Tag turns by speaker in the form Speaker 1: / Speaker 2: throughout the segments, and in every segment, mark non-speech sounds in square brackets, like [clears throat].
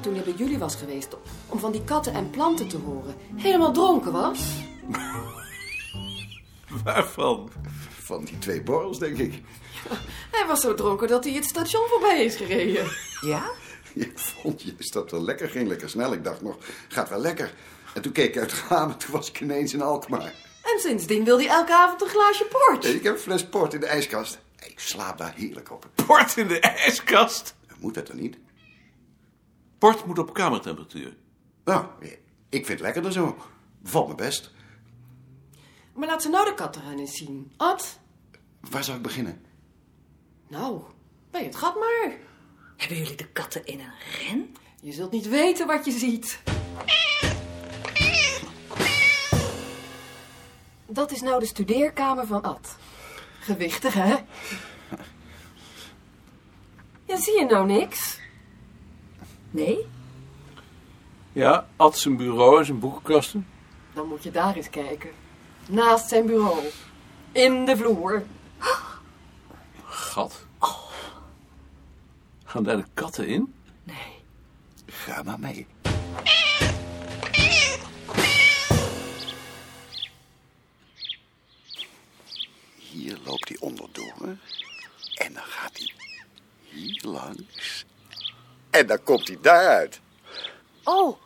Speaker 1: toen hij bij jullie was geweest... om van die katten en planten te horen. Helemaal dronken was.
Speaker 2: Waarvan?
Speaker 3: Van die twee borrels, denk ik. [laughs]
Speaker 1: Hij was zo dronken dat hij het station voorbij is gereden.
Speaker 4: Ja?
Speaker 3: Ik vond, je is dat wel lekker? Ging lekker snel. Ik dacht nog, gaat wel lekker. En toen keek ik uit het raam en toen was ik ineens in Alkmaar.
Speaker 1: En sindsdien wil hij elke avond een glaasje port.
Speaker 3: Ik heb een fles port in de ijskast. Ik slaap daar heerlijk op.
Speaker 2: Port in de ijskast.
Speaker 3: Moet dat dan niet?
Speaker 2: Port moet op kamertemperatuur.
Speaker 3: Nou, ik vind het lekkerder zo. Valt me best.
Speaker 1: Maar laat ze nou de kat eraan eens zien. Ad?
Speaker 3: Waar zou ik beginnen?
Speaker 1: Nou, bij het gat maar.
Speaker 4: Hebben jullie de katten in een ren?
Speaker 1: Je zult niet weten wat je ziet. Dat is nou de studeerkamer van Ad. Gewichtig, hè? Ja, zie je nou niks?
Speaker 4: Nee?
Speaker 5: Ja, Ad zijn bureau en zijn boekenkasten.
Speaker 1: Dan moet je daar eens kijken. Naast zijn bureau. In de vloer.
Speaker 5: Gat. Gaan daar de katten in?
Speaker 4: Nee.
Speaker 3: Ga maar mee. Hier loopt hij onderdoor. En dan gaat hij hier langs. En dan komt hij daaruit.
Speaker 4: Oh,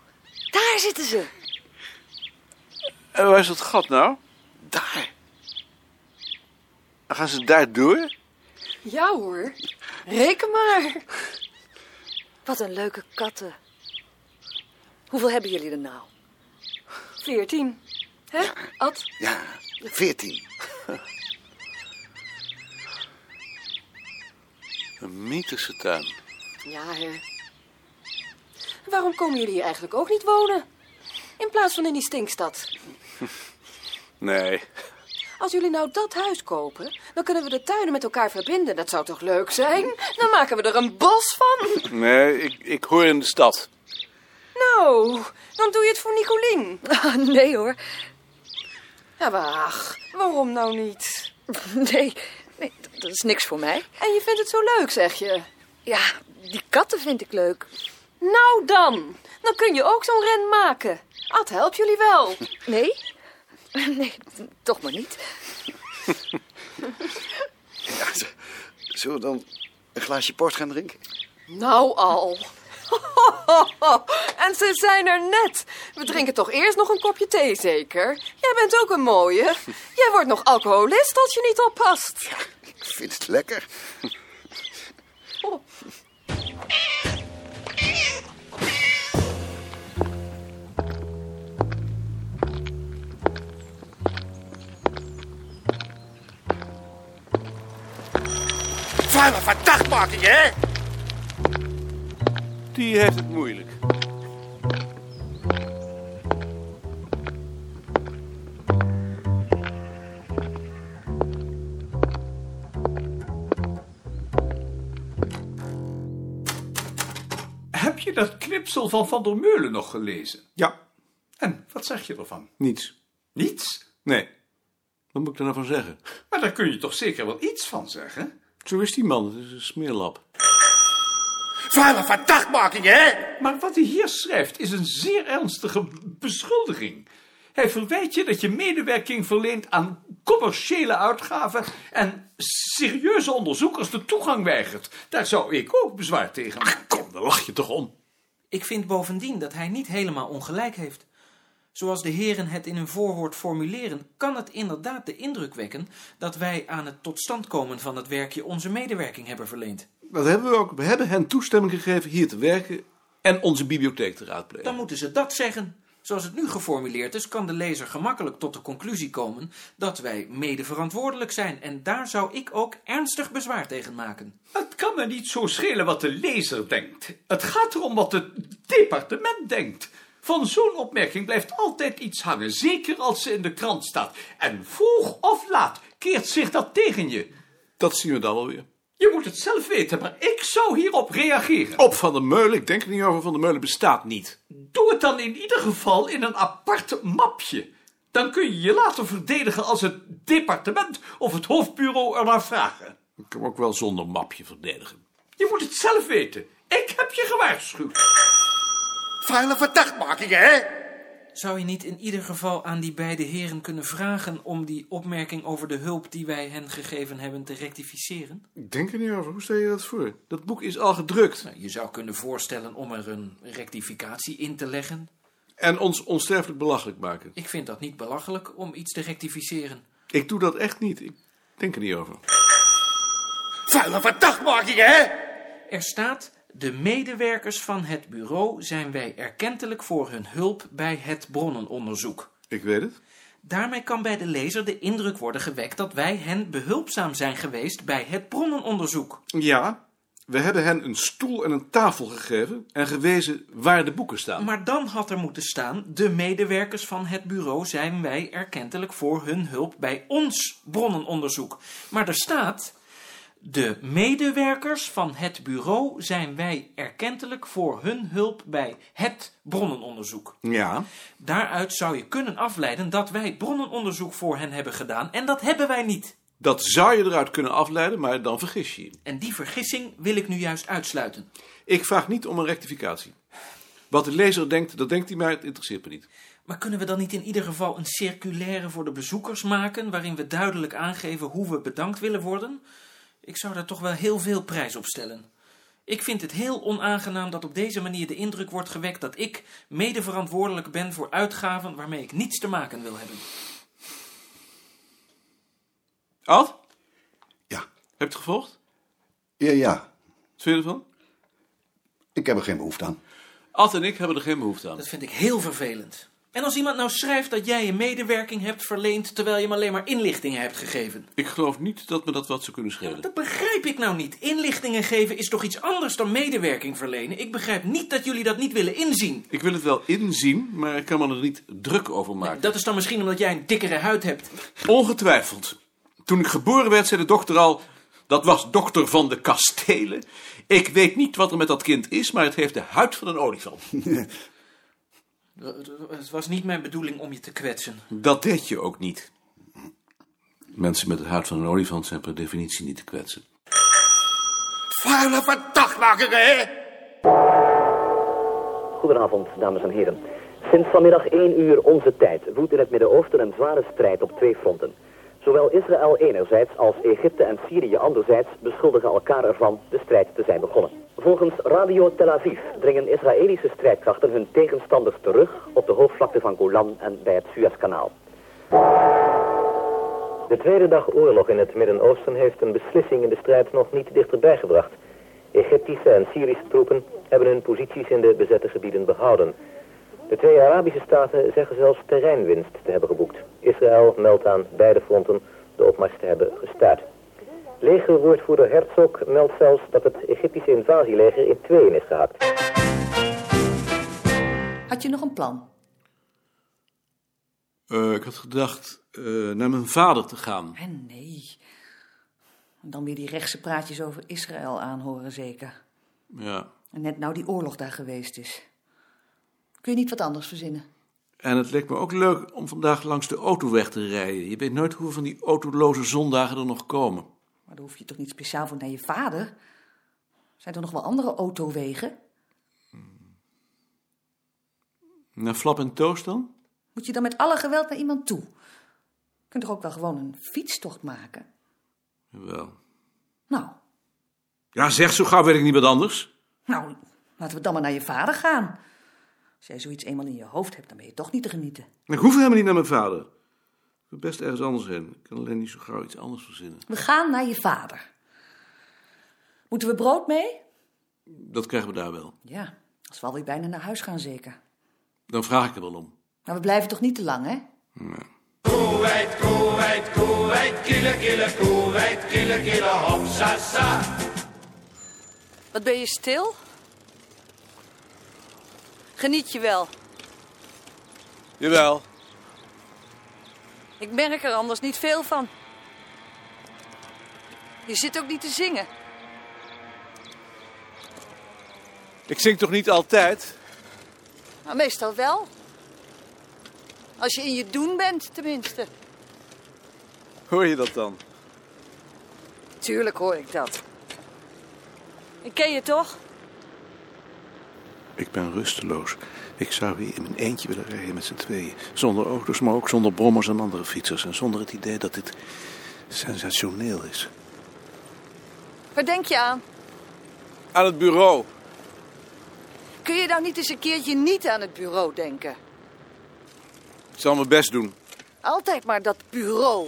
Speaker 4: daar zitten ze.
Speaker 5: En waar is dat gat nou?
Speaker 3: Daar.
Speaker 5: Dan gaan ze daar door?
Speaker 1: Ja hoor. Reken maar.
Speaker 4: Wat een leuke katten. Hoeveel hebben jullie er nou?
Speaker 1: Veertien. Hè, Ad?
Speaker 3: Ja, veertien.
Speaker 5: Een mythische tuin.
Speaker 1: Ja, hè. Waarom komen jullie hier eigenlijk ook niet wonen? In plaats van in die stinkstad.
Speaker 5: Nee.
Speaker 1: Als jullie nou dat huis kopen, dan kunnen we de tuinen met elkaar verbinden. Dat zou toch leuk zijn? Dan maken we er een bos van.
Speaker 5: Nee, ik, ik hoor in de stad.
Speaker 1: Nou, dan doe je het voor Nicolien.
Speaker 4: [laughs] nee hoor.
Speaker 1: Ja, maar ach, waarom nou niet?
Speaker 4: Nee, nee, d- dat is niks voor mij.
Speaker 1: En je vindt het zo leuk, zeg je?
Speaker 4: Ja, die katten vind ik leuk.
Speaker 1: Nou dan, dan kun je ook zo'n ren maken. Ad, help jullie wel.
Speaker 4: Nee? [laughs] Nee, toch maar niet.
Speaker 3: Ja, z- zullen we dan een glaasje port gaan drinken?
Speaker 1: [laughs] Nou al. [laughs] En ze zijn er net. We drinken toch eerst nog een kopje thee, zeker? Jij bent ook een mooie. Jij wordt nog alcoholist als je niet oppast.
Speaker 3: Ik vind het lekker.
Speaker 5: Vader, van dag maken, hè? Die heeft het moeilijk.
Speaker 6: Heb je dat knipsel van Van der Meulen nog gelezen?
Speaker 5: Ja,
Speaker 6: En wat zeg je ervan?
Speaker 5: niets.
Speaker 6: Niets?
Speaker 5: Nee. Wat moet ik er nou van zeggen?
Speaker 6: Maar daar kun je toch zeker wel iets van zeggen?
Speaker 5: Zo is die man, het is een smeerlap.
Speaker 6: Vader van dagmaking, hè? Maar wat hij hier schrijft is een zeer ernstige b- beschuldiging. Hij verwijt je dat je medewerking verleent aan commerciële uitgaven en serieuze onderzoekers de toegang weigert. Daar zou ik ook bezwaar tegen maken.
Speaker 5: Kom, daar lach je toch om.
Speaker 7: Ik vind bovendien dat hij niet helemaal ongelijk heeft. Zoals de heren het in hun voorwoord formuleren, kan het inderdaad de indruk wekken dat wij aan het tot stand komen van het werkje onze medewerking hebben verleend.
Speaker 5: Dat hebben we ook. We hebben hen toestemming gegeven hier te werken en onze bibliotheek te raadplegen.
Speaker 7: Dan moeten ze dat zeggen. Zoals het nu geformuleerd is, kan de lezer gemakkelijk tot de conclusie komen dat wij medeverantwoordelijk zijn. En daar zou ik ook ernstig bezwaar tegen maken.
Speaker 6: Het kan me niet zo schelen wat de lezer denkt. Het gaat erom wat het departement denkt. Van zo'n opmerking blijft altijd iets hangen, zeker als ze in de krant staat. En vroeg of laat keert zich dat tegen je.
Speaker 5: Dat zien we dan wel weer.
Speaker 6: Je moet het zelf weten, maar ik zou hierop reageren.
Speaker 5: Op Van der Meulen, ik denk er niet over, Van der Meulen bestaat niet.
Speaker 6: Doe het dan in ieder geval in een apart mapje. Dan kun je je later verdedigen als het departement of het hoofdbureau ernaar vragen.
Speaker 5: Ik kan hem ook wel zonder mapje verdedigen.
Speaker 6: Je moet het zelf weten. Ik heb je gewaarschuwd.
Speaker 3: Vuile verdachtmakingen, hè?
Speaker 7: Zou je niet in ieder geval aan die beide heren kunnen vragen om die opmerking over de hulp die wij hen gegeven hebben te rectificeren?
Speaker 5: Ik denk er niet over. Hoe stel je dat voor? Dat boek is al gedrukt.
Speaker 7: Nou, je zou kunnen voorstellen om er een rectificatie in te leggen.
Speaker 5: En ons onsterfelijk belachelijk maken.
Speaker 7: Ik vind dat niet belachelijk om iets te rectificeren.
Speaker 5: Ik doe dat echt niet. Ik denk er niet over.
Speaker 3: Vuile verdachtmakingen, hè?
Speaker 7: Er staat: De medewerkers van het bureau zijn wij erkentelijk voor hun hulp bij het bronnenonderzoek.
Speaker 5: Ik weet het.
Speaker 7: Daarmee kan bij de lezer de indruk worden gewekt dat wij hen behulpzaam zijn geweest bij het bronnenonderzoek.
Speaker 5: Ja. We hebben hen een stoel en een tafel gegeven en gewezen waar de boeken staan.
Speaker 7: Maar dan had er moeten staan: De medewerkers van het bureau zijn wij erkentelijk voor hun hulp bij ons bronnenonderzoek. Maar er staat. De medewerkers van het bureau zijn wij erkentelijk voor hun hulp bij het bronnenonderzoek.
Speaker 5: Ja.
Speaker 7: Daaruit zou je kunnen afleiden dat wij bronnenonderzoek voor hen hebben gedaan en dat hebben wij niet.
Speaker 5: Dat zou je eruit kunnen afleiden, maar dan vergis je je.
Speaker 7: En die vergissing wil ik nu juist uitsluiten.
Speaker 5: Ik vraag niet om een rectificatie. Wat de lezer denkt, dat denkt hij, maar het interesseert me niet.
Speaker 7: Maar kunnen we dan niet in ieder geval een circulaire voor de bezoekers maken waarin we duidelijk aangeven hoe we bedankt willen worden? Ik zou daar toch wel heel veel prijs op stellen. Ik vind het heel onaangenaam dat op deze manier de indruk wordt gewekt dat ik medeverantwoordelijk ben voor uitgaven waarmee ik niets te maken wil hebben.
Speaker 5: Ad, heb
Speaker 3: Ja,
Speaker 5: je het gevolgd?
Speaker 3: ja, ja.
Speaker 5: Wat vind je ervan?
Speaker 3: Ik heb er geen behoefte aan.
Speaker 5: Ad en ik hebben er geen behoefte aan.
Speaker 7: Dat vind ik heel vervelend. En als iemand nou schrijft dat jij je medewerking hebt verleend terwijl je hem alleen maar inlichtingen hebt gegeven.
Speaker 5: Ik geloof niet dat me dat wat zou kunnen schelen.
Speaker 7: Dat begrijp ik nou niet. Inlichtingen geven is toch iets anders dan medewerking verlenen? Ik begrijp niet dat jullie dat niet willen inzien.
Speaker 5: Ik wil het wel inzien, maar ik kan me er niet druk over maken.
Speaker 7: Dat is dan misschien omdat jij een dikkere huid hebt.
Speaker 5: Ongetwijfeld. Toen ik geboren werd, zei de dokter al... dat was dokter van de kastelen. Ik weet niet wat er met dat kind is, maar het heeft de huid van een olifant.
Speaker 7: Het was niet mijn bedoeling om je te kwetsen.
Speaker 5: Dat deed je ook niet. Mensen met de huid van een olifant zijn per definitie niet te kwetsen.
Speaker 3: Vuile verdachtmakingen, hè?
Speaker 8: Goedenavond, dames en heren. Sinds vanmiddag 1 uur onze tijd woedt in het Midden-Oosten een zware strijd op twee fronten. Zowel Israël enerzijds als Egypte en Syrië anderzijds beschuldigen elkaar ervan de strijd te zijn begonnen. Volgens Radio Tel Aviv dringen Israëlische strijdkrachten hun tegenstanders terug op de hoofdvlakte van Golan en bij het Suezkanaal. De tweede dag oorlog in het Midden-Oosten heeft een beslissing in de strijd nog niet dichterbij gebracht. Egyptische en Syrische troepen hebben hun posities in de bezette gebieden behouden. De twee Arabische staten zeggen zelfs terreinwinst te hebben geboekt. Israël meldt aan beide fronten de opmars te hebben gestaard. Legerwoordvoerder Herzog meldt zelfs dat het Egyptische invasieleger in tweeën is gehakt.
Speaker 4: Had je nog een plan?
Speaker 5: Eh, ik had gedacht eh, naar mijn vader te gaan.
Speaker 4: En nee. En Dan weer die rechtse praatjes over Israël aanhoren zeker.
Speaker 5: Ja.
Speaker 4: En net nou die oorlog daar geweest is. Kun je niet wat anders verzinnen?
Speaker 5: En het leek me ook leuk om vandaag langs de autoweg te rijden. Je weet nooit hoeveel van die autoloze zondagen er nog komen.
Speaker 4: Maar daar hoef je toch niet speciaal voor naar je vader? Zijn er nog wel andere autowegen?
Speaker 5: Naar Flap en Toast dan?
Speaker 4: Moet je dan met alle geweld naar iemand toe? Je kunt toch ook wel gewoon een fietstocht maken?
Speaker 5: Jawel.
Speaker 4: Nou,
Speaker 5: Ja, zeg, zo gauw weet ik niet wat anders.
Speaker 4: nou, laten we dan maar naar je vader gaan. Als jij zoiets eenmaal in je hoofd hebt, dan ben je toch niet te genieten.
Speaker 5: Ik hoef helemaal niet naar mijn vader. Ik wil best ergens anders heen. Ik kan alleen niet zo gauw iets anders verzinnen.
Speaker 4: We gaan naar je vader. Moeten we brood mee?
Speaker 5: Dat krijgen we daar wel.
Speaker 4: Ja, als we alweer bijna naar huis gaan zeker.
Speaker 5: Dan vraag ik er wel om.
Speaker 4: Maar we blijven toch niet te lang, hè?
Speaker 9: Koeweit, Koeweit, Koeweit, kille, kille, Koeweit, kille, kille, hopsasa.
Speaker 1: Wat ben je stil? Geniet je wel.
Speaker 5: Jawel.
Speaker 1: Ik merk er anders niet veel van. Je zit ook niet te zingen.
Speaker 5: Ik zing toch niet altijd?
Speaker 1: Maar meestal wel. Als je in je doen bent, tenminste.
Speaker 5: Hoor je dat dan?
Speaker 1: Tuurlijk hoor ik dat. Ik ken je toch?
Speaker 5: Ik ben rusteloos.
Speaker 10: Ik zou weer in mijn eentje willen rijden met z'n tweeën. Zonder auto's, maar ook zonder brommers en andere fietsers. En zonder het idee dat dit sensationeel is.
Speaker 1: Waar denk je aan?
Speaker 5: Aan het bureau.
Speaker 1: Kun je nou niet eens een keertje niet aan het bureau denken?
Speaker 5: Ik zal mijn best doen.
Speaker 1: Altijd maar dat bureau.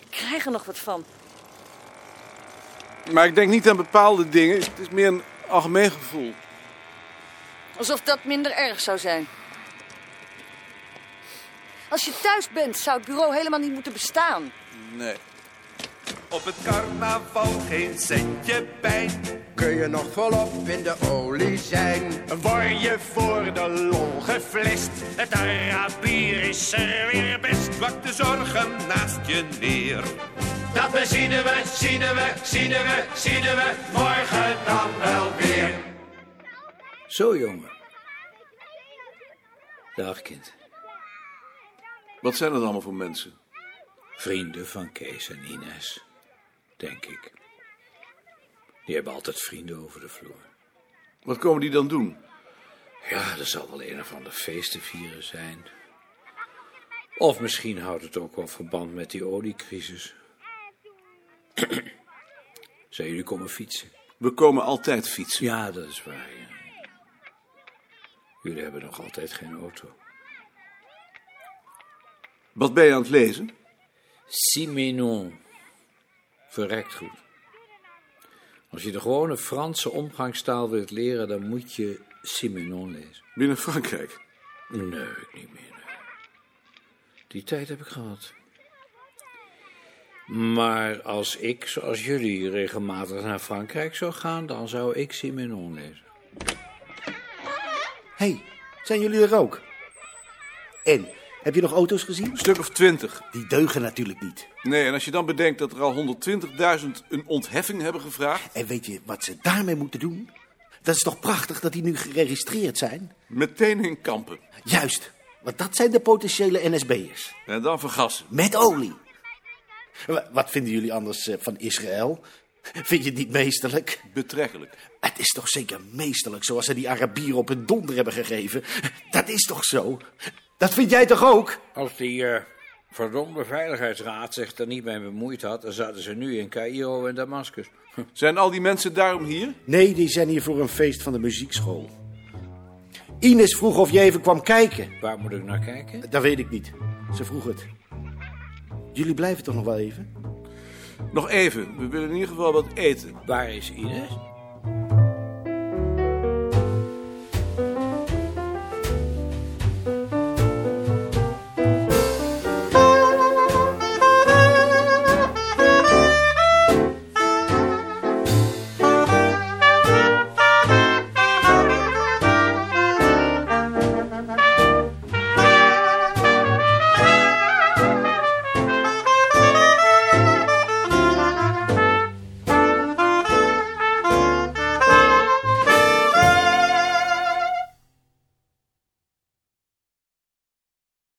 Speaker 1: Ik krijg er nog wat van.
Speaker 5: Maar ik denk niet aan bepaalde dingen. Het is meer een algemeen gevoel.
Speaker 1: Alsof dat minder erg zou zijn. Als je thuis bent, zou het bureau helemaal niet moeten bestaan.
Speaker 5: Nee.
Speaker 11: Op het carnaval geen centje pijn.
Speaker 7: Kun je nog volop in de olie zijn?
Speaker 11: Word je voor de lol geflist. Het Arabier is er weer best. Plak de zorgen naast je neer. Dat we zien we, zien we, zien we, zien we. Morgen dan wel weer.
Speaker 6: Zo, jongen. Dag, kind.
Speaker 5: Wat zijn dat allemaal voor mensen?
Speaker 6: Vrienden van Kees en Ines, denk ik. Die hebben altijd vrienden over de vloer.
Speaker 5: Wat komen die dan doen?
Speaker 6: Ja, er zal wel een of ander feest te vieren zijn. Of misschien houdt het ook wel verband met die oliecrisis. [clears throat] Zijn jullie komen fietsen?
Speaker 5: We komen altijd fietsen.
Speaker 6: Ja, dat is waar. ja. Jullie hebben nog altijd geen auto.
Speaker 5: Wat ben je aan het lezen?
Speaker 6: Simenon. Verrekt goed. Als je de gewone Franse omgangstaal wilt leren, dan moet je Simenon lezen.
Speaker 5: Binnen Frankrijk.
Speaker 6: Nee, niet meer. nee. Die tijd heb ik gehad. Maar als ik, zoals jullie, regelmatig naar Frankrijk zou gaan, dan zou ik Simenon lezen.
Speaker 7: Hé, hey, zijn jullie er ook? En, heb je nog auto's gezien?
Speaker 5: Een stuk of twintig.
Speaker 7: Die deugen natuurlijk niet.
Speaker 5: Nee, en als je dan bedenkt dat er al 120.000 een ontheffing hebben gevraagd.
Speaker 7: En weet je wat ze daarmee moeten doen? Dat is toch prachtig dat die nu geregistreerd zijn?
Speaker 5: Meteen in kampen.
Speaker 7: Juist, want dat zijn de potentiële NSB'ers.
Speaker 5: En dan vergassen.
Speaker 7: Met olie. Wa- Wat vinden jullie anders eh, van Israël? Vind je het niet meesterlijk?
Speaker 5: Betrekkelijk.
Speaker 7: Het is toch zeker meesterlijk zoals ze die Arabieren op hun donder hebben gegeven? Dat is toch zo? Dat vind jij toch ook?
Speaker 6: Als die eh, verdomde Veiligheidsraad zich er niet mee bemoeid had, dan zaten ze nu in Cairo en Damascus.
Speaker 5: Zijn al die mensen daarom hier?
Speaker 7: Nee, die zijn hier voor een feest van de muziekschool. Ines vroeg of je even kwam kijken.
Speaker 6: Waar moet ik naar kijken?
Speaker 7: Dat weet ik niet. Ze vroeg het. Jullie blijven toch nog wel even?
Speaker 5: Nog even. We willen in ieder geval wat eten.
Speaker 6: Waar is Ines?